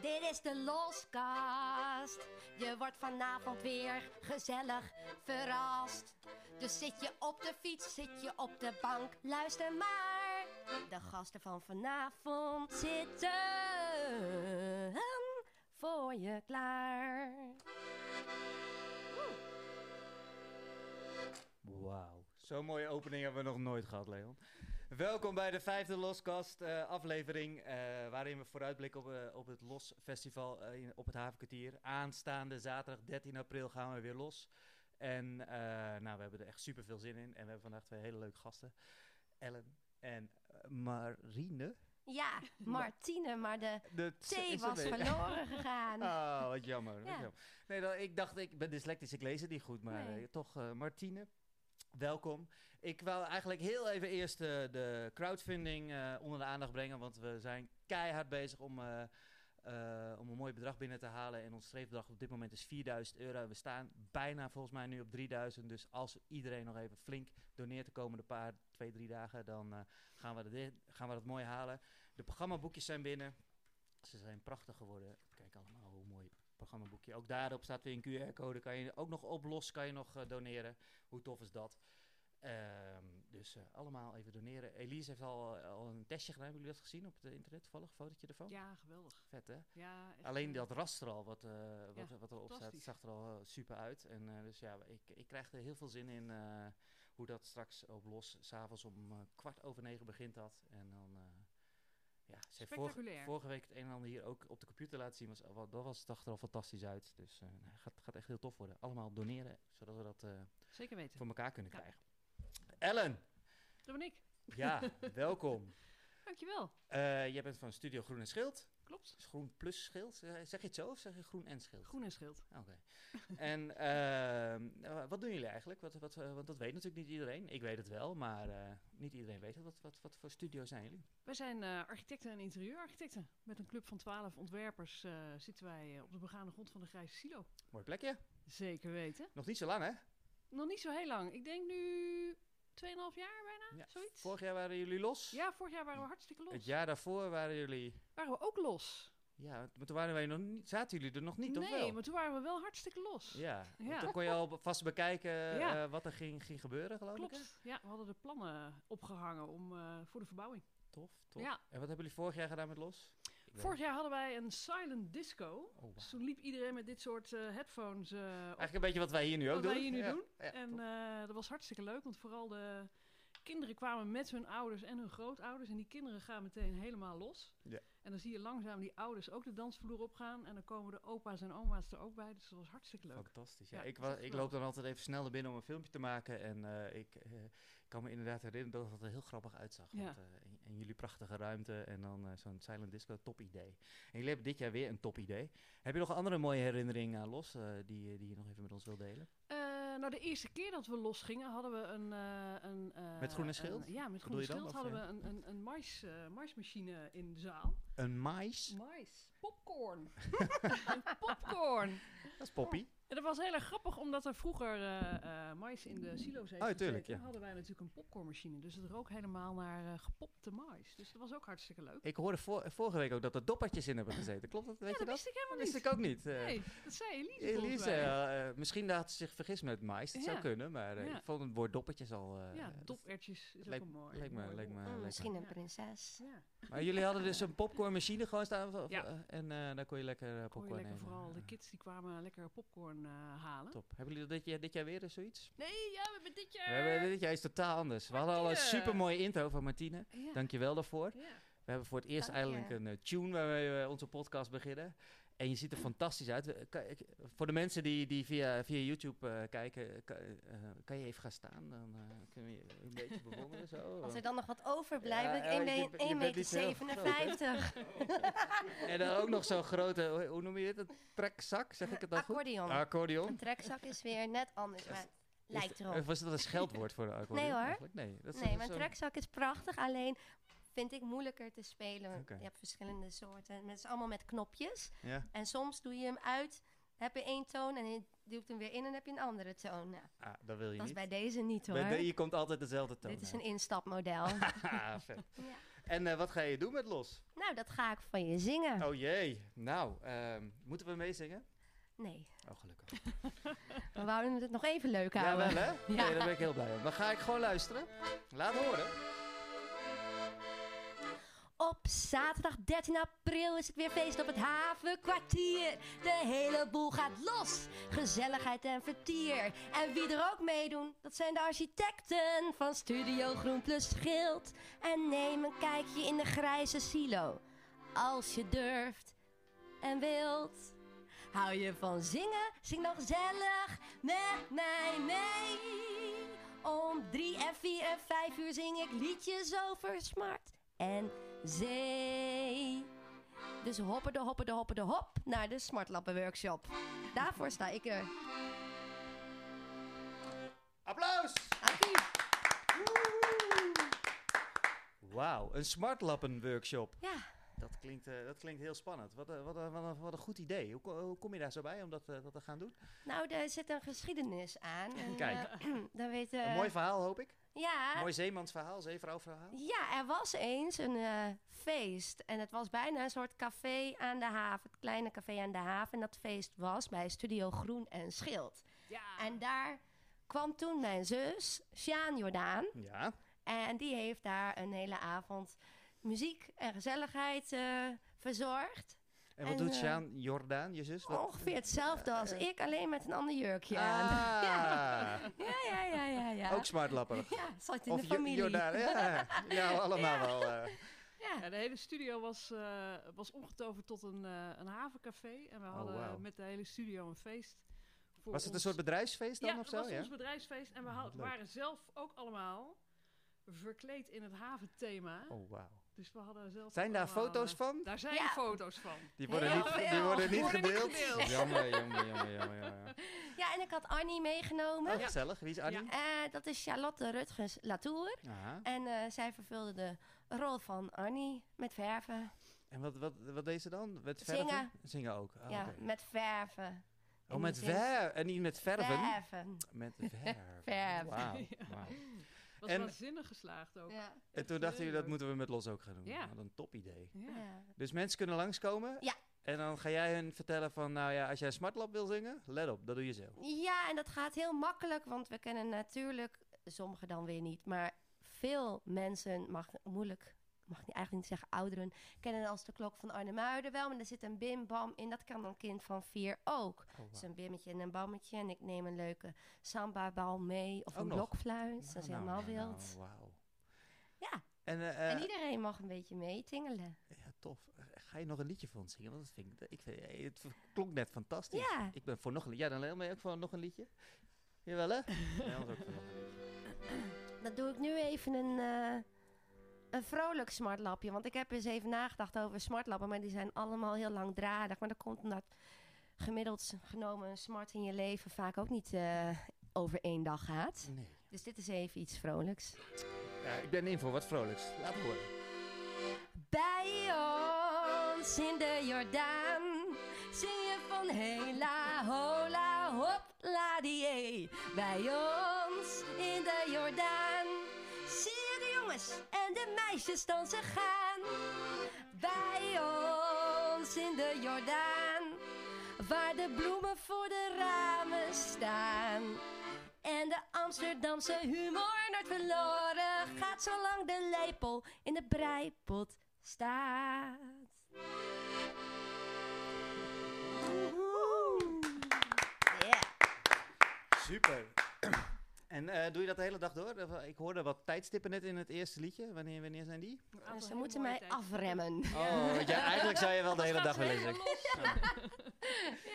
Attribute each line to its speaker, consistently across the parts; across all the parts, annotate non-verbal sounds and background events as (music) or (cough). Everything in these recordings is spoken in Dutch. Speaker 1: Dit is de Loscast. Je wordt vanavond weer gezellig verrast. Dus zit je op de fiets, zit je op de bank, luister maar. De gasten van vanavond zitten voor je klaar.
Speaker 2: Wauw. Zo'n mooie opening hebben we nog nooit gehad, Leon. Welkom bij de vijfde Loskast eh, aflevering. eh, waarin we vooruitblikken op, eh, op het Los Festival eh, in- op het Havenkwartier. Aanstaande zaterdag 13 april gaan we weer los. En eh, nou, we hebben er echt super veel zin in. En we hebben vandaag twee hele leuke gasten: Ellen en eh, Marine. (laughs)
Speaker 1: Ja, Martine, maar de
Speaker 2: De
Speaker 1: thee
Speaker 2: is
Speaker 1: was
Speaker 2: er mee. (laughs)
Speaker 1: verloren gegaan.
Speaker 2: Ah, wat jammer. wat
Speaker 1: Ja.
Speaker 2: jammer. Nee, dan, ik dacht, ik ben dyslectisch, ik lees het niet goed, maar
Speaker 1: Nee.
Speaker 2: eh, toch, eh, Martine. Welkom. Ik wou eigenlijk heel even eerst eh, de crowdfunding eh, onder de aandacht brengen, want we zijn keihard bezig om, eh, eh, om een mooi bedrag binnen te halen. En ons streefbedrag op dit moment is 4000 euro. We staan bijna volgens mij nu op 3000. Dus als iedereen nog even flink doneert de komende paar, twee, drie dagen, dan eh, gaan, we dit, gaan we dat mooi halen. De programmaboekjes zijn binnen. Ze zijn prachtig geworden. Kijk allemaal hoe mooi programmaboekje. Ook daarop staat weer een QR-code. Kan je ook nog oplossen, kan je nog eh, doneren. Hoe tof is dat? Ehm, dus eh, allemaal even doneren. Elise heeft al, eh, al een testje gedaan. Hebben jullie dat gezien op het internet? Toevallig een fotootje ervan?
Speaker 3: Ja, geweldig.
Speaker 2: Vet hè?
Speaker 3: Ja, echt,
Speaker 2: Alleen
Speaker 3: eh,
Speaker 2: dat raster al, wat, eh wat,
Speaker 3: Ja,
Speaker 2: wat erop staat,
Speaker 3: fantastisch.
Speaker 2: zag er al eh, super uit. En eh, dus ja, ik, ik krijg er heel veel zin in eh, hoe dat straks op los, s'avonds om eh, kwart over negen begint dat. En dan, eh, ja, ze heeft vorige,
Speaker 3: Spectaculair.
Speaker 2: vorige week het een en ander hier ook op de computer laten zien. Was, wat, dat was, zag er al fantastisch uit. Dus eh, nou, gaat, gaat echt heel tof worden. Allemaal doneren, zodat we dat eh,
Speaker 3: Zeker weten.
Speaker 2: voor elkaar kunnen
Speaker 3: Ja.
Speaker 2: krijgen. Ellen,
Speaker 3: Dat ben ik.
Speaker 2: ja, (laughs) welkom.
Speaker 3: Dankjewel.
Speaker 2: Eh, jij bent van Studio Groen en Schild.
Speaker 3: Klopt.
Speaker 2: Dus Groen plus Schild. Eh, Zeg je het zo of zeg je Groen en Schild?
Speaker 3: Groen en schild.
Speaker 2: Oké. (laughs) en ehm, nou, wat doen jullie eigenlijk? Wat, wat, eh, want dat weet natuurlijk niet iedereen. Ik weet het wel, maar eh, niet iedereen weet het. Wat, wat, wat voor studio zijn jullie?
Speaker 3: Wij zijn eh, architecten en interieurarchitecten. Met een club van twaalf ontwerpers eh, zitten wij eh, op de begane grond van de Grijze Silo.
Speaker 2: Mooi plekje.
Speaker 3: Zeker weten.
Speaker 2: Nog niet zo lang, hè?
Speaker 3: Nog niet zo heel lang. Ik denk nu 2,5 jaar bijna,
Speaker 2: Ja.
Speaker 3: zoiets.
Speaker 2: Vorig jaar waren jullie los.
Speaker 3: Ja, vorig jaar waren we hartstikke los.
Speaker 2: Het jaar daarvoor waren jullie...
Speaker 3: Waren we ook los?
Speaker 2: Ja, maar toen waren wij nog niet, zaten jullie er nog niet, of
Speaker 3: nee,
Speaker 2: wel?
Speaker 3: maar toen waren we wel hartstikke los.
Speaker 2: Ja, want
Speaker 3: Ja.
Speaker 2: dan kon je al vast bekijken eh,
Speaker 3: Ja.
Speaker 2: wat er ging, ging gebeuren, geloof ik. hè?
Speaker 3: Klopt. Ja, we hadden de plannen opgehangen om, eh, voor de verbouwing.
Speaker 2: Tof, tof.
Speaker 3: Ja.
Speaker 2: En wat hebben jullie vorig jaar gedaan met Los? Ik weet-
Speaker 3: Vorig jaar hadden wij een silent disco.
Speaker 2: Oh, wauw.
Speaker 3: Dus toen liep iedereen met dit soort eh, headphones eh, op.
Speaker 2: Eigenlijk een beetje wat wij hier nu ook
Speaker 3: Wat
Speaker 2: doen.
Speaker 3: wij hier nu
Speaker 2: Ja,
Speaker 3: doen.
Speaker 2: Ah, ja,
Speaker 3: en
Speaker 2: tof.
Speaker 3: eh, dat was hartstikke leuk, want vooral de kinderen kwamen met hun ouders en hun grootouders. En die kinderen gaan meteen helemaal los.
Speaker 2: Ja.
Speaker 3: En dan zie je langzaam die ouders ook de dansvloer opgaan. En dan komen de opa's en oma's er ook bij. Dus dat was hartstikke leuk.
Speaker 2: Fantastisch. Ja,
Speaker 3: Ja,
Speaker 2: ik,
Speaker 3: dat is
Speaker 2: was,
Speaker 3: echt
Speaker 2: ik
Speaker 3: leuk.
Speaker 2: loop dan altijd even snel naar binnen om een filmpje te maken. En eh, ik eh, kan me inderdaad herinneren dat het er heel grappig uitzag.
Speaker 3: Ja.
Speaker 2: Want, eh, in, in jullie prachtige ruimte en dan eh, zo'n silent disco, top idee. En jullie hebben dit jaar weer een top idee. Heb je nog andere mooie herinneringen aan Los eh, die, je- die je nog even met ons wilt delen?
Speaker 3: Eh, nou, de eerste keer dat we losgingen hadden we een... eh, een eh,
Speaker 2: Met groene schild?
Speaker 3: een- ja, met
Speaker 2: Bedoel
Speaker 3: groene
Speaker 2: je dan?
Speaker 3: schild
Speaker 2: Of,
Speaker 3: hadden we een, een, een mais, eh, maismachine in de zaal.
Speaker 2: Een mais?
Speaker 3: Mais.
Speaker 2: Ah,
Speaker 3: Popcorn.
Speaker 1: Ah,
Speaker 3: Een popcorn.
Speaker 2: Dat is Poppy.
Speaker 3: En dat was heel erg grappig, omdat er vroeger eh, eh, mais in de silo's heeft
Speaker 2: Oh, tuurlijk,
Speaker 3: gezeten.
Speaker 2: ja.
Speaker 3: hadden wij natuurlijk een popcornmachine. Dus het rook helemaal naar eh, gepopte mais. Dus dat was ook hartstikke leuk.
Speaker 2: Ik hoorde vor- vorige week ook dat er doppertjes in hebben gezeten. Klopt dat? Weet
Speaker 3: ja,
Speaker 2: je
Speaker 3: dat
Speaker 2: dat?
Speaker 3: wist ik helemaal
Speaker 2: Dat wist ik
Speaker 3: niet.
Speaker 2: ook niet. eh.
Speaker 3: Nee, dat zei Elise volgens
Speaker 2: Elise,
Speaker 3: mij.
Speaker 2: eh, eh, misschien had ze zich vergist met mais. Dat zou
Speaker 3: Ja.
Speaker 2: kunnen, maar eh,
Speaker 3: Ja.
Speaker 2: ik vond het woord doppertjes al... eh,
Speaker 3: ja,
Speaker 2: dat-
Speaker 3: dopertjes is
Speaker 2: leek-
Speaker 3: ook een mooi.
Speaker 2: leek me-
Speaker 3: Oh, mooi eh,
Speaker 2: leek me-
Speaker 3: woord.
Speaker 1: Mm,
Speaker 2: lekker.
Speaker 1: misschien een
Speaker 3: Ja.
Speaker 1: prinses.
Speaker 3: Ja,
Speaker 2: Maar jullie hadden dus een popcornmachine gewoon staan. of- of-
Speaker 3: Ja.
Speaker 2: eh, En eh, daar kon je lekker eh,
Speaker 3: kon
Speaker 2: popcorn
Speaker 3: je lekker
Speaker 2: nemen.
Speaker 3: vooral. De
Speaker 2: Ja,
Speaker 3: kids die kwamen lekker popcorn eh, halen.
Speaker 2: Top. Hebben jullie dat dit jaar, dit jaar weer eens zoiets?
Speaker 3: Nee, ja, we hebben dit jaar...
Speaker 2: We hebben, dit jaar is totaal anders. We hadden al een
Speaker 3: Martine!
Speaker 2: super mooie intro van Martine.
Speaker 3: Ja.
Speaker 2: Dankjewel daarvoor.
Speaker 3: Ja.
Speaker 2: We hebben voor het eerst
Speaker 1: Dank je.
Speaker 2: eigenlijk een eh, tune waarmee we onze podcast beginnen. En je ziet er fantastisch uit. Eh, kan- ik- voor de mensen die, die via, via YouTube eh, kijken, kan, eh, kan je even gaan staan? Dan eh, kunnen we je een beetje bewonderen. Zo.
Speaker 1: Als er dan nog wat overblijft,
Speaker 2: Oh. Ja,
Speaker 1: ik 1
Speaker 2: je bent- je bent
Speaker 1: meter
Speaker 2: niet zo heel
Speaker 1: 57.
Speaker 2: En dan ook nog zo'n grote, hoe- hoe noem je dit? Een trekzak, (laughs) zeg ik het dan goed?
Speaker 1: Accordeon.
Speaker 2: Accordeon.
Speaker 1: Een trekzak is weer net anders, maar lijkt
Speaker 2: Is het-
Speaker 1: erop.
Speaker 2: Of was
Speaker 1: (laughs)
Speaker 2: dat een scheldwoord voor de alcohol?
Speaker 1: Nee hoor.
Speaker 2: Eigenlijk? Nee, dat is
Speaker 1: Nee,
Speaker 2: dat
Speaker 1: maar
Speaker 2: is
Speaker 1: een
Speaker 2: een-
Speaker 1: trekzak is prachtig, alleen vind ik moeilijker te spelen.
Speaker 2: Oké.
Speaker 1: Je hebt verschillende soorten. Het is allemaal met knopjes.
Speaker 2: Ja.
Speaker 1: En soms doe je hem uit heb je één toon en je duwt hem weer in en heb je een andere toon. Nou,
Speaker 2: Ah, dat wil je
Speaker 1: dat is
Speaker 2: niet.
Speaker 1: bij deze niet hoor.
Speaker 2: Bij de- je komt altijd dezelfde toon
Speaker 1: Dit is
Speaker 2: uit.
Speaker 1: een
Speaker 2: (laughs)
Speaker 1: instapmodel.
Speaker 2: Haha, vet.
Speaker 1: (laughs) Ja.
Speaker 2: En eh, wat ga je doen met Los?
Speaker 1: nou, dat ga ik van je zingen.
Speaker 2: Oh jee, nou, ehm, moeten we meezingen?
Speaker 1: Nee,
Speaker 2: Oh, gelukkig.
Speaker 1: we wouden het nog even leuk
Speaker 2: Ja,
Speaker 1: houden.
Speaker 2: wel hè? Nee, daar ben ik heel blij om. Dan ga ik gewoon luisteren. Laat horen.
Speaker 1: Op zaterdag 13 april is het weer feest op het havenkwartier. De hele boel gaat los. Gezelligheid en vertier. En wie er ook meedoen, dat zijn de architecten van Studio Groen Plus Schild. En neem een kijkje in de grijze silo. Als je durft en wilt. Hou je van zingen? Zing dan gezellig met mij mee. Om drie en vier en vijf uur zing ik liedjes over smart en zee. Dus hopper de hopper de hopper de hop naar de Smartlappen Workshop. Daarvoor sta ik er.
Speaker 2: Applaus!
Speaker 1: Dankie.
Speaker 2: Wauw, een smartlappenworkshop.
Speaker 1: Ja,
Speaker 2: Dat klinkt, eh, dat klinkt heel spannend. Wat, eh, wat, eh, wat, een- wat een goed idee. Hoe, ko- hoe kom je daar zo bij om dat, eh, dat te gaan doen?
Speaker 1: nou, daar zit een geschiedenis aan. En,
Speaker 2: (laughs) Kijk.
Speaker 1: eh, dan weten.
Speaker 2: Een mooi verhaal, hoop ik.
Speaker 1: Ja,
Speaker 2: Mooi zeemansverhaal, zeevrouwverhaal.
Speaker 1: Ja, er was eens een eh, feest. En het was bijna een soort café aan de haven. Het kleine café aan de haven. En dat feest was bij Studio Groen en Schild.
Speaker 3: Ja.
Speaker 1: En daar kwam toen mijn zus, Sjaan Jordaan.
Speaker 2: Ja.
Speaker 1: En die heeft daar een hele avond muziek en gezelligheid eh, verzorgd.
Speaker 2: En wat
Speaker 1: En,
Speaker 2: doet
Speaker 1: eh,
Speaker 2: Sjaan Jordaan, je zus? Dus Wat- eh,
Speaker 1: Ongeveer hetzelfde als ik, alleen met een ander jurkje aan.
Speaker 2: Ah,
Speaker 1: Ja, ja, ja, ja, (laughs) ja.
Speaker 2: Ook smartlappen.
Speaker 1: ja, zat in
Speaker 2: of
Speaker 1: de
Speaker 2: Jo-
Speaker 1: familie. (laughs)
Speaker 2: Jordaan, ja. Ja, allemaal wel. eh.
Speaker 3: Ja, de hele studio was, eh, was omgetoverd tot een, eh, een havencafé. En we hadden
Speaker 2: Oh, wauw.
Speaker 3: met de hele studio een feest. Voor
Speaker 2: Was het een
Speaker 3: ons-
Speaker 2: soort bedrijfsfeest dan
Speaker 3: ja,
Speaker 2: of zo?
Speaker 3: het was
Speaker 2: ja?
Speaker 3: ons bedrijfsfeest. En we
Speaker 2: Ah,
Speaker 3: had-
Speaker 2: wat leuk.
Speaker 3: waren zelf ook allemaal verkleed in het haventhema.
Speaker 2: Oh, wauw.
Speaker 3: Dus we hadden zelf
Speaker 2: Zijn
Speaker 3: ook
Speaker 2: daar
Speaker 3: allemaal,
Speaker 2: foto's
Speaker 3: eh,
Speaker 2: van?
Speaker 3: Daar zijn
Speaker 1: Ja.
Speaker 3: foto's van.
Speaker 2: Die worden
Speaker 1: Heel
Speaker 2: niet, die
Speaker 1: veel.
Speaker 2: worden niet
Speaker 3: Worden niet
Speaker 2: gedeeld.
Speaker 3: gedeeld.
Speaker 2: Jammer, jammer, jammer, jammer. jammer.
Speaker 1: Ja, en ik had Annie meegenomen.
Speaker 2: Oh, gezellig. Wie is Annie?
Speaker 1: Eh, dat is Charlotte Rutgens Latour.
Speaker 2: Aha.
Speaker 1: En eh, zij vervulde de rol van Annie met verven.
Speaker 2: En wat, wat, wat deed ze dan? Met
Speaker 1: Zingen.
Speaker 2: verven? Zingen ook. Oh,
Speaker 1: ja,
Speaker 2: oké.
Speaker 1: met verven.
Speaker 2: oh met verven. En niet met verven.
Speaker 1: Verven.
Speaker 2: Met
Speaker 1: (laughs)
Speaker 2: verven.
Speaker 1: Verven.
Speaker 2: Wauw.
Speaker 3: Ja.
Speaker 1: (laughs)
Speaker 2: wauw.
Speaker 3: Was
Speaker 2: En-
Speaker 3: waanzinnig geslaagd ook.
Speaker 1: Ja.
Speaker 2: En
Speaker 3: Echt
Speaker 2: toen dachten
Speaker 3: heel
Speaker 2: jullie, dat
Speaker 3: leuk.
Speaker 2: moeten we met Los ook gaan doen.
Speaker 3: Ja.
Speaker 2: Wat een top idee.
Speaker 3: Ja.
Speaker 1: Ja.
Speaker 2: Dus mensen kunnen langskomen.
Speaker 1: Ja.
Speaker 2: En dan ga jij hun vertellen van, nou ja, als jij Smartlab wil zingen, let op, dat doe je zelf.
Speaker 1: Ja, en dat gaat heel makkelijk, want we kennen natuurlijk, sommigen dan weer niet, maar veel mensen, mag moeilijk, mag niet, eigenlijk niet zeggen ouderen, kennen als de klok van Arnhem Muiden wel, maar er zit een bim-bam in, dat kan een kind van vier ook.
Speaker 2: Oh, wauw.
Speaker 1: Dus een bimmetje en een bammetje en ik neem een leuke samba-bal mee of
Speaker 2: Ook
Speaker 1: een
Speaker 2: nog?
Speaker 1: blokfluit, dat is
Speaker 2: Nou,
Speaker 1: helemaal
Speaker 2: nou, nou,
Speaker 1: wild.
Speaker 2: wauw.
Speaker 1: Ja.
Speaker 2: En, eh,
Speaker 1: en iedereen mag een beetje meetingelen.
Speaker 2: Ja, tof. Eh, Ga je nog een liedje voor ons zingen? Want dat vind ik, ik vind, eh, het v- klonk net fantastisch.
Speaker 1: Ja.
Speaker 2: Ik ben voor nog een liedje. Ja, dan Leel, ben je ook voor nog een liedje?
Speaker 1: (laughs)
Speaker 2: Jawel, hè? Ja, ons ook voor nog een liedje.
Speaker 1: Dat doe ik nu even een, eh, een vrolijk smartlapje. Want ik heb eens even nagedacht over smartlappen. Maar die zijn allemaal heel langdradig. Maar dat komt omdat gemiddeld s- genomen een smart in je leven vaak ook niet eh, over één dag gaat.
Speaker 2: Nee.
Speaker 1: Dus dit is even iets vrolijks.
Speaker 2: Ja, ik ben in voor wat vrolijks. Laat me horen.
Speaker 1: Bij ons in de Jordaan zing je van hela hola hop la die. Bij ons in de Jordaan zie je de jongens en de meisjes dansen gaan. Bij ons in de Jordaan waar de bloemen voor de ramen staan. En de Amsterdamse humor nooit verloren gaat zolang de lepel in de breipot staat. Ja.
Speaker 2: Super. (clears throat) En eh, doe je dat de hele dag door? Of, eh, Ik hoorde wat tijdstippen net in het eerste liedje. Wanneer, wanneer zijn die?
Speaker 3: Een aantal
Speaker 1: En dus Ze
Speaker 3: hele
Speaker 1: moeten
Speaker 3: mooie
Speaker 1: mij
Speaker 3: tijd.
Speaker 1: afremmen.
Speaker 2: Oh, ja, eigenlijk zou je wel de hele dag willen zingen.
Speaker 3: zingen.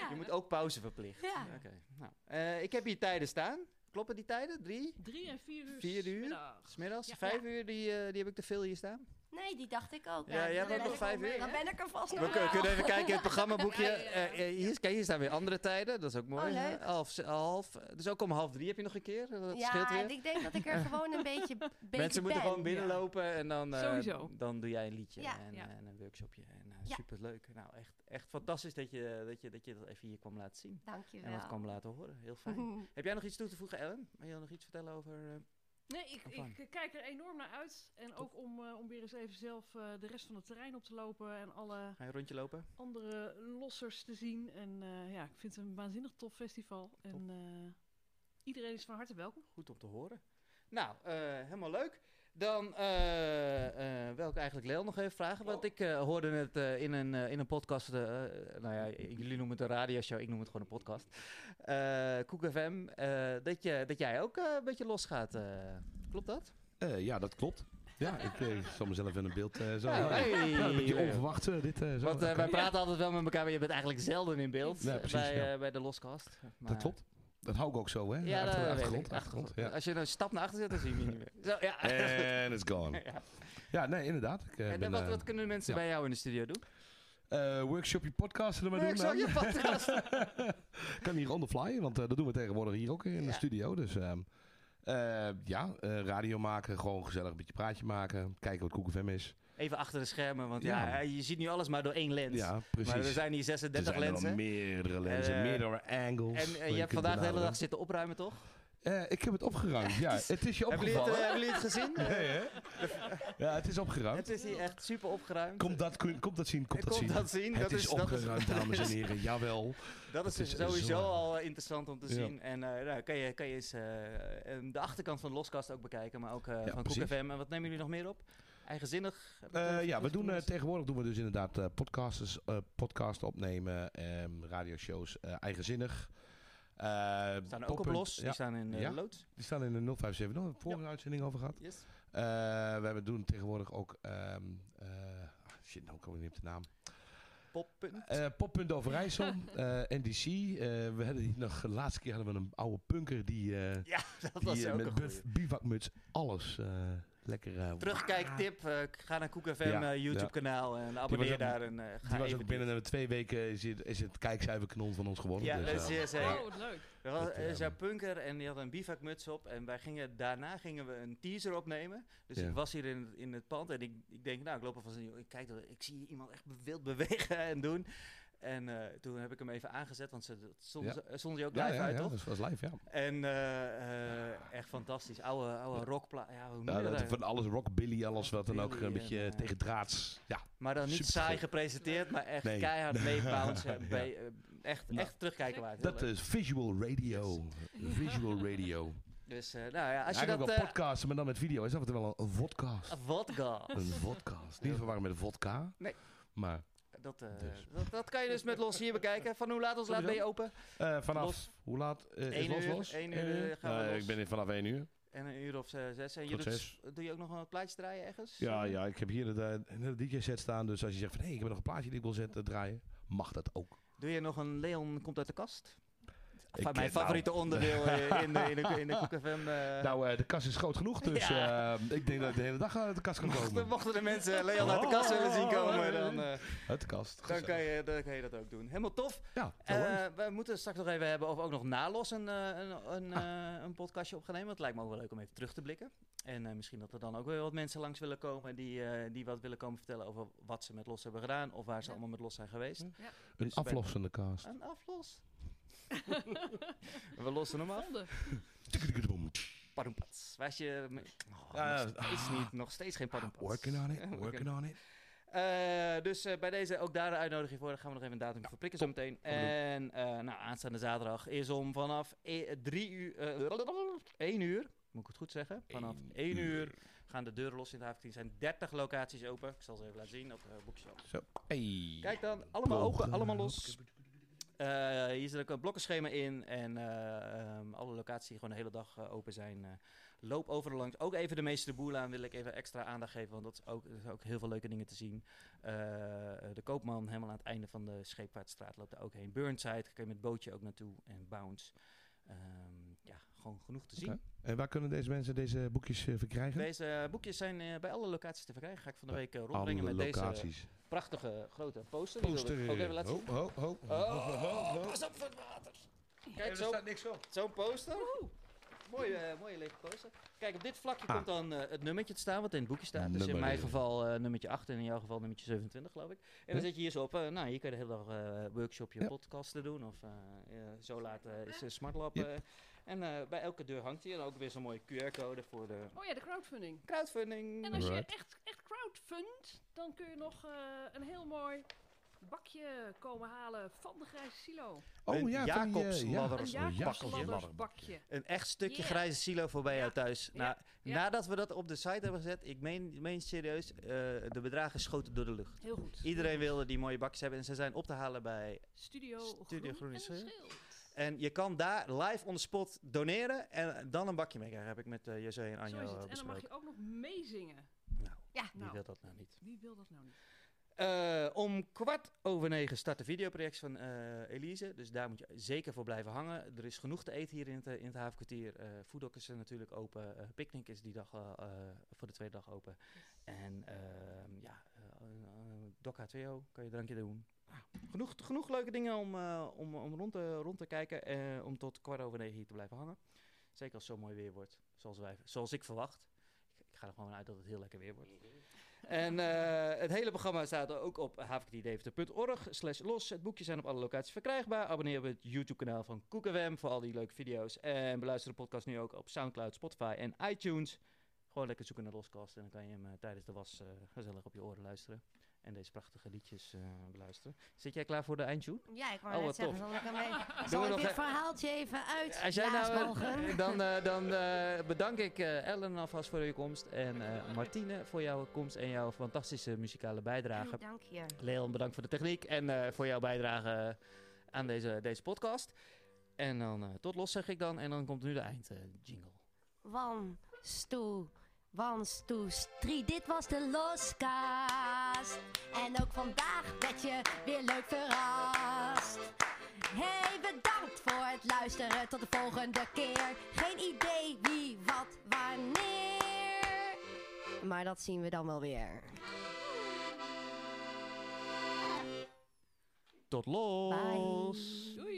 Speaker 2: Je moet ook pauze verplicht.
Speaker 1: Ja.
Speaker 2: Oké. Nou, eh, ik heb hier tijden staan. Kloppen die tijden? Drie?
Speaker 3: Drie en vier uur.
Speaker 2: Vier uur?
Speaker 3: middags.
Speaker 2: Smiddags?
Speaker 3: Ja.
Speaker 2: Vijf uur? Die, eh, die heb ik te veel hier staan.
Speaker 1: Nee, die dacht ik ook. Nou,
Speaker 2: Ja, jij
Speaker 1: dan
Speaker 2: hebt
Speaker 1: ben
Speaker 2: ook nog
Speaker 1: ik-
Speaker 2: vijf uur,
Speaker 1: Dan
Speaker 2: hè?
Speaker 1: ben ik er vast
Speaker 2: We
Speaker 1: nog
Speaker 2: kun-
Speaker 1: wel.
Speaker 2: kunnen even kijken in het programmaboekje.
Speaker 3: Ja, ja, ja.
Speaker 2: Eh, eh, hier, is- kijk, hier staan weer andere tijden. Dat is ook mooi.
Speaker 1: Oh, leuk.
Speaker 2: Half, z- half, dus ook om half drie heb je nog een keer. Dat
Speaker 1: Ja,
Speaker 2: scheelt weer.
Speaker 1: ik denk dat ik er gewoon een
Speaker 2: (laughs)
Speaker 1: beetje, beetje
Speaker 2: Mensen moeten
Speaker 1: ben.
Speaker 2: gewoon binnenlopen en dan, eh,
Speaker 3: Sowieso.
Speaker 2: dan doe jij een liedje
Speaker 1: Ja.
Speaker 2: en,
Speaker 3: Ja.
Speaker 2: eh, en een workshopje. En, eh,
Speaker 1: Ja.
Speaker 2: superleuk. Nou, echt, echt fantastisch dat je, dat je dat je dat even hier kwam laten zien. En wat
Speaker 1: Dankjewel.
Speaker 2: kwam laten horen. Heel fijn.
Speaker 1: (laughs)
Speaker 2: Heb jij nog iets toe te voegen, Ellen? Wil je nog iets vertellen over... eh,
Speaker 3: Nee, ik,
Speaker 2: Fijn.
Speaker 3: ik eh, kijk er enorm naar uit. En ook om, eh, om weer eens even zelf eh, de rest van het terrein op te lopen en alle
Speaker 2: ga je een rondje lopen?
Speaker 3: andere lossers te zien. En eh, ja, ik vind het een waanzinnig tof festival. En eh, iedereen is van harte welkom.
Speaker 2: Goed om te horen. Nou, eh, helemaal leuk. Dan eh, eh, wil ik eigenlijk Leel nog even vragen.
Speaker 4: Oh.
Speaker 2: Want ik eh, hoorde het eh, in, een, eh, in een podcast. eh, eh, nou ja, j- jullie noemen het een radioshow, ik noem het gewoon een podcast. Eh Koek FM. eh, dat, je, dat jij ook eh, een beetje losgaat. eh. klopt dat?
Speaker 4: Eh, ja, dat klopt. Ja, ik eh, zal mezelf in een beeld eh zo.
Speaker 2: Nou, hey.
Speaker 4: Ja, een beetje onverwacht eh, dit. eh, zo.
Speaker 2: Want eh,
Speaker 4: Oké.
Speaker 2: wij praten altijd wel met elkaar, maar je bent eigenlijk zelden in beeld
Speaker 4: Ja,
Speaker 2: eh,
Speaker 4: precies,
Speaker 2: bij,
Speaker 4: ja.
Speaker 2: eh, bij de loskast. Maar-
Speaker 4: Dat klopt. Dat hou ik ook zo, hè?
Speaker 2: Ja,
Speaker 4: Achter-
Speaker 2: dat weet
Speaker 4: achtergrond.
Speaker 2: ik.
Speaker 4: achtergrond ja. Eh,
Speaker 2: Als je nou een stap naar achter zet, dan zie je me niet meer. Zo, ja. (laughs)
Speaker 4: En it's gone.
Speaker 2: Ja.
Speaker 4: Ja, nee, inderdaad. Ik, eh,
Speaker 2: En
Speaker 4: ben,
Speaker 2: wat,
Speaker 4: eh,
Speaker 2: wat kunnen mensen
Speaker 4: ja.
Speaker 2: bij jou in de studio doen?
Speaker 4: eh, workshop je podcast er maar
Speaker 2: Nee, ik
Speaker 4: doen.
Speaker 2: zal
Speaker 4: man.
Speaker 2: je podcast.
Speaker 4: kan hier on the fly, want eh, dat doen we tegenwoordig hier ook in
Speaker 2: Ja.
Speaker 4: de studio. Dus ehm, eh, ja, eh, radio maken, gewoon gezellig een beetje praatje maken. Kijken wat Koekenfem is.
Speaker 2: (laughs) Even achter de schermen, want ja.
Speaker 4: Ja.
Speaker 2: je ziet nu alles maar door één lens.
Speaker 4: Ja, precies.
Speaker 2: maar er zijn hier
Speaker 4: Er
Speaker 2: 36
Speaker 4: zijn er
Speaker 2: lensen.
Speaker 4: meerdere lensen,
Speaker 2: Eh,
Speaker 4: meerdere angles.
Speaker 2: En eh,
Speaker 4: waar
Speaker 2: je hebt
Speaker 4: kunt
Speaker 2: vandaag de hele
Speaker 4: benaderen.
Speaker 2: dag zitten opruimen, toch?
Speaker 4: Eh, ik heb het opgeruimd, ja. Het is je
Speaker 2: Hebben jullie het, eh,
Speaker 4: opgevallen.
Speaker 2: hebben jullie het gezien? Eh,
Speaker 4: Nee, hè? (laughs) Ja, het is opgeruimd.
Speaker 2: het is hier echt super opgeruimd.
Speaker 4: Komt dat, kun- komt dat zien, komt
Speaker 2: Eh,
Speaker 4: dat zien.
Speaker 2: zien.
Speaker 4: Het
Speaker 2: Dat
Speaker 4: is
Speaker 2: is, dat is,
Speaker 4: opgeruimd, dames en heren. Jawel.
Speaker 2: (laughs) dat is
Speaker 4: Het is
Speaker 2: sowieso
Speaker 4: zo.
Speaker 2: al eh, interessant om te
Speaker 4: Ja.
Speaker 2: zien. En eh, nou, kan, je, kan je eens eh, eh, de achterkant van de Loskast ook bekijken, maar ook eh,
Speaker 4: Ja,
Speaker 2: van
Speaker 4: precies.
Speaker 2: KoekFM. En wat nemen jullie nog meer op? Eigenzinnig? Heb ik
Speaker 4: Eh,
Speaker 2: het, eh,
Speaker 4: ja, we
Speaker 2: goed
Speaker 4: doen, eh,
Speaker 2: genoemd?
Speaker 4: tegenwoordig doen we dus inderdaad eh podcasters, eh, podcast opnemen, ehm radioshows, eh, eigenzinnig. Eh,
Speaker 2: Die staan ook op
Speaker 4: poppunt-
Speaker 2: los.
Speaker 4: ja,
Speaker 2: Die staan in eh
Speaker 4: Ja.
Speaker 2: Loods.
Speaker 4: die staan in de 057, daar hebben we de vorige uitzending over gehad.
Speaker 2: Yes.
Speaker 4: Eh, we hebben, doen tegenwoordig ook, ehm, eh, ah, shit, nou kom ik niet op de naam.
Speaker 2: Poppunt.
Speaker 4: Eh Poppunt Overijssel,
Speaker 2: (laughs)
Speaker 4: eh, NDC. eh, we hadden die nog, de laatste keer hadden we een oude punker die, eh,
Speaker 2: ja, (laughs) dat was
Speaker 4: die eh,
Speaker 2: ook een
Speaker 4: met
Speaker 2: goeie.
Speaker 4: buf- bivakmuts alles eh, lekker... eh,
Speaker 2: Terugkijktip, eh, k- ga naar Koek FM
Speaker 4: Ja,
Speaker 2: eh, YouTube
Speaker 4: ja.
Speaker 2: kanaal en abonneer
Speaker 4: ook-
Speaker 2: daar en eh, ga
Speaker 4: Die was
Speaker 2: even
Speaker 4: ook binnen de twee weken is het, is het kijkcijferkanon van ons geworden.
Speaker 2: Ja,
Speaker 4: dus,
Speaker 2: dat
Speaker 4: eh,
Speaker 2: is zeer
Speaker 3: Oh,
Speaker 2: zeker.
Speaker 3: wat leuk.
Speaker 2: Er was
Speaker 4: Dat,
Speaker 2: er is
Speaker 4: ehm,
Speaker 2: een punker en die had een bivakmuts op en wij gingen, daarna gingen we een teaser opnemen. Dus
Speaker 4: Ja.
Speaker 2: ik was hier in, het- in het pand en ik, ik denk, nou ik loop alvast in, ik kijk, er- ik zie iemand echt wild bewegen (laughs) en doen. En eh, toen heb ik hem even aangezet, want ze dat stonden
Speaker 4: Ja.
Speaker 2: ze- eh, stonden die ook
Speaker 4: ja,
Speaker 2: live
Speaker 4: ja,
Speaker 2: uit,
Speaker 4: ja,
Speaker 2: toch?
Speaker 4: dat was live, ja.
Speaker 2: En eh, eh, echt fantastisch. Oude, oude rockpla... Ja, hoe noem je
Speaker 4: ja
Speaker 2: dat
Speaker 4: dat,
Speaker 2: eigenlijk?
Speaker 4: van alles rockabilly, alles wat dan ook, een
Speaker 2: Rockabilly
Speaker 4: beetje
Speaker 2: en,
Speaker 4: eh,
Speaker 2: eh,
Speaker 4: tegen draads. Ja,
Speaker 2: Maar dan niet
Speaker 4: Super
Speaker 2: saai
Speaker 4: goed.
Speaker 2: gepresenteerd, maar echt
Speaker 4: Nee.
Speaker 2: keihard meebouncen.
Speaker 4: (laughs) Ja.
Speaker 2: bij- eh, echt,
Speaker 4: Nou,
Speaker 2: echt terugkijken waard. Heel
Speaker 4: dat
Speaker 2: leuk.
Speaker 4: is visual radio.
Speaker 2: (laughs)
Speaker 4: Visual radio.
Speaker 2: Dus eh, nou ja, als je
Speaker 4: Eigenlijk
Speaker 2: dat...
Speaker 4: wel
Speaker 2: eh,
Speaker 4: podcasten, maar dan met video. Is dat wel een, een vodcast? (laughs)
Speaker 2: Vodka.
Speaker 4: Een vodcast. Niet verwarren met vodka.
Speaker 2: Nee.
Speaker 4: Maar
Speaker 2: Dat, eh,
Speaker 4: Dus.
Speaker 2: dat, dat kan je dus met Los hier bekijken. Van hoe laat ons laat ben je open?
Speaker 4: eh, vanaf,
Speaker 2: Los.
Speaker 4: hoe laat eh, is
Speaker 2: Eén
Speaker 4: los
Speaker 2: uur,
Speaker 4: los?
Speaker 2: één uur, eh, gaan we
Speaker 4: Nee,
Speaker 2: los.
Speaker 4: ik ben hier vanaf 1 uur.
Speaker 2: En een uur of ze- zes. En je
Speaker 4: Tot
Speaker 2: doet,
Speaker 4: zes.
Speaker 2: doe je ook nog een plaatje draaien ergens?
Speaker 4: Ja,
Speaker 2: Eh,
Speaker 4: ja, ik heb hier het, eh, een hele DJ-set staan. Dus als je zegt van, hé, ik heb nog een plaatje die ik wil zetten, draaien. Mag dat ook.
Speaker 2: Doe je nog een Leon komt uit de kast?
Speaker 4: Ik,
Speaker 2: Van mijn
Speaker 4: eh,
Speaker 2: favoriete
Speaker 4: nou,
Speaker 2: onderdeel
Speaker 4: (laughs)
Speaker 2: eh, in de, in de, in de Koek FM. eh,
Speaker 4: Nou, eh, de kast is groot genoeg, dus
Speaker 2: Ja.
Speaker 4: eh, ik denk dat ik de hele dag uit de kast kan
Speaker 2: mochten,
Speaker 4: komen.
Speaker 2: mochten de mensen Leon uit de kast willen zien komen, dan, eh,
Speaker 4: Uit de kast.
Speaker 2: dan,
Speaker 4: gezellig.
Speaker 2: kan je, dan kan je dat ook doen. Helemaal tof.
Speaker 4: Ja,
Speaker 2: Eh,
Speaker 4: zo hoort.
Speaker 2: we moeten straks nog even hebben of we ook nog na Los een, eh, een, een, eh, een podcastje op gaan nemen. Want het lijkt me ook wel leuk om even terug te blikken. En eh, misschien dat er dan ook weer wat mensen langs willen komen die, eh, die wat willen komen vertellen over wat ze met Los hebben gedaan. Of waar ze
Speaker 3: Ja.
Speaker 2: allemaal met Los zijn geweest.
Speaker 4: Ja.
Speaker 2: dus
Speaker 4: een
Speaker 2: bij-
Speaker 4: aflossende kast.
Speaker 2: Een aflos. we lossen hem af.
Speaker 3: Volgende.
Speaker 2: Padoempats. Waar is je... me- Oh,
Speaker 4: Ja,
Speaker 2: nog steeds niet, nog steeds geen padoempats.
Speaker 4: Working on
Speaker 2: Ja,
Speaker 4: it, working on it.
Speaker 2: Eh, dus eh, bij deze ook daar de uitnodiging voor. Dan gaan we nog even een datum verprikken zo meteen.
Speaker 4: we doen.
Speaker 2: En eh, nou, aanstaande zaterdag is om vanaf 3 uur... eh 1 uur, moet ik het goed zeggen? Vanaf
Speaker 4: Eén
Speaker 2: 1 uur.
Speaker 4: uur.
Speaker 2: gaan de deuren los in de haven. Er zijn 30 locaties open. Ik zal ze even laten zien op eh, de boekshop.
Speaker 4: Hey.
Speaker 2: Kijk dan, allemaal open,
Speaker 4: Blokken.
Speaker 2: allemaal los. Eh, hier zit ook een blokkenschema in. En eh, ehm, alle locaties die gewoon de hele dag eh, open zijn. eh, loop overal langs. Ook even de meeste boel aan wil ik even extra aandacht geven. Want dat is ook, er zijn ook heel veel leuke dingen te zien. Eh, de Koopman, helemaal aan het einde van de Scheepvaartstraat, loopt daar ook heen. Burnside, kun je met bootje ook naartoe. En Bounce. Ehm, ja, gewoon genoeg te zien.
Speaker 4: Oké. En waar kunnen deze mensen deze boekjes eh, verkrijgen?
Speaker 2: Deze eh, boekjes zijn eh, bij alle locaties te verkrijgen. Ga ik van de
Speaker 4: Bij
Speaker 2: week eh, rondbrengen
Speaker 4: Andere
Speaker 2: met deze
Speaker 4: locaties.
Speaker 2: prachtige grote poster. Die wil ik
Speaker 4: Poster. eh,
Speaker 2: ook even laten zien.
Speaker 4: Ho, ho, ho.
Speaker 2: Oh, pas op voor het water. Kijk, zo-
Speaker 4: niks op.
Speaker 2: zo'n poster. Mooie, eh, mooie lege coaster. Kijk, op dit vlakje
Speaker 4: Ah.
Speaker 2: komt dan eh, het nummertje te staan wat in het boekje staat. Dus in
Speaker 4: Nummer.
Speaker 2: mijn geval eh, nummertje 8 en in jouw geval nummertje 27, geloof ik. En dan
Speaker 4: Ja.
Speaker 2: zet je hier zo op. eh, nou, hier kan je de hele dag eh, workshop je
Speaker 4: Ja.
Speaker 2: podcast te doen. Of eh, eh, zo laat eh, is eh, Smartlab.
Speaker 4: Yep.
Speaker 2: eh. en eh, bij elke deur hangt hij. En ook weer zo'n mooie QR-code voor de
Speaker 3: Oh ja, de crowdfunding.
Speaker 2: crowdfunding.
Speaker 3: En als je
Speaker 4: Alright.
Speaker 3: echt, echt crowdfundt, dan kun je nog eh, een heel mooi bakje komen halen van de grijze silo.
Speaker 4: Oh
Speaker 2: Een
Speaker 4: ja, van die, eh,
Speaker 2: Jacobsladder.
Speaker 4: ja.
Speaker 2: Een
Speaker 3: Een
Speaker 4: Jacobsladder.
Speaker 3: Jacobsladdersbakje. bakje.
Speaker 2: Een echt stukje
Speaker 3: Yeah.
Speaker 2: grijze silo voor bij
Speaker 3: Ja.
Speaker 2: jou thuis.
Speaker 3: Ja.
Speaker 2: Nou,
Speaker 3: Ja.
Speaker 2: Nadat we dat op de site hebben gezet, ik meen, meen serieus, eh, de bedragen schoten door de lucht.
Speaker 3: Heel goed.
Speaker 2: Iedereen wilde die mooie bakjes hebben en ze zijn op te halen bij.
Speaker 3: Studio,
Speaker 2: Studio
Speaker 3: Groen
Speaker 2: Groen
Speaker 3: en
Speaker 2: is heel-
Speaker 3: Schild.
Speaker 2: En je kan daar live on the spot doneren en dan een bakje mee krijgen. Heb ik met eh José en
Speaker 3: Zo
Speaker 2: Anja
Speaker 3: is
Speaker 2: eh,
Speaker 3: het. En dan mag
Speaker 2: besproken.
Speaker 3: je ook nog meezingen.
Speaker 2: Nou,
Speaker 1: Ja.
Speaker 2: wie
Speaker 3: Nou.
Speaker 2: wil dat nou niet?
Speaker 3: Wie wil dat nou niet?
Speaker 2: Eh, om kwart over negen start de videoproject van eh, Elise. Dus daar moet je zeker voor blijven hangen. Er is genoeg te eten hier in het, eh, in het havenkwartier. Eh Foodok is er natuurlijk open. Eh, Picnic is die dag eh, eh, voor de tweede dag open. En ehm, ja, Doca 2O kan je drankje doen. Ah, genoeg, genoeg leuke dingen om, eh, om, om rond, te, rond te kijken. eh, om tot kwart over negen hier te blijven hangen. Zeker als het zo mooi weer wordt. Zoals, wij, zoals ik verwacht. Ik, ik ga er gewoon vanuit dat het heel lekker weer wordt. En eh, het hele programma staat ook op havenkwartierdeventer.org slash los. Het boekje zijn op alle locaties verkrijgbaar. Abonneer op het YouTube-kanaal van Koekenwem voor al die leuke video's. En beluister de podcast nu ook op Soundcloud, Spotify en iTunes. Gewoon lekker zoeken naar Loscast en dan kan je hem eh, tijdens de was eh, gezellig op je oren luisteren. En deze prachtige liedjes eh, beluisteren. Zit jij klaar voor de eindtune?
Speaker 1: Ja, ik wou
Speaker 2: Oh,
Speaker 1: net
Speaker 2: wat
Speaker 1: zeggen,
Speaker 2: tof.
Speaker 1: zal ik, ermee,
Speaker 2: we
Speaker 1: zal ik
Speaker 2: nog
Speaker 1: dit
Speaker 2: e-
Speaker 1: verhaaltje even uit
Speaker 2: Als jij nou, eh,
Speaker 1: mogen?
Speaker 2: dan eh, dan eh, bedank ik eh, Ellen alvast voor je komst. En eh, Martine voor jouw komst en jouw fantastische muzikale bijdrage.
Speaker 1: Dank je.
Speaker 2: Leon, bedankt voor de techniek en eh, voor jouw bijdrage aan deze, deze podcast. En dan eh, tot los zeg ik dan. En dan komt nu de eindjingle.
Speaker 1: One, two, one, two, three. Dit was de Loskaast. En ook vandaag werd je weer leuk verrast. Hey, bedankt voor het luisteren. Tot de volgende keer. Geen idee wie, wat, wanneer. Maar dat zien we dan wel weer.
Speaker 2: tot los!
Speaker 1: Bye.
Speaker 3: Doei.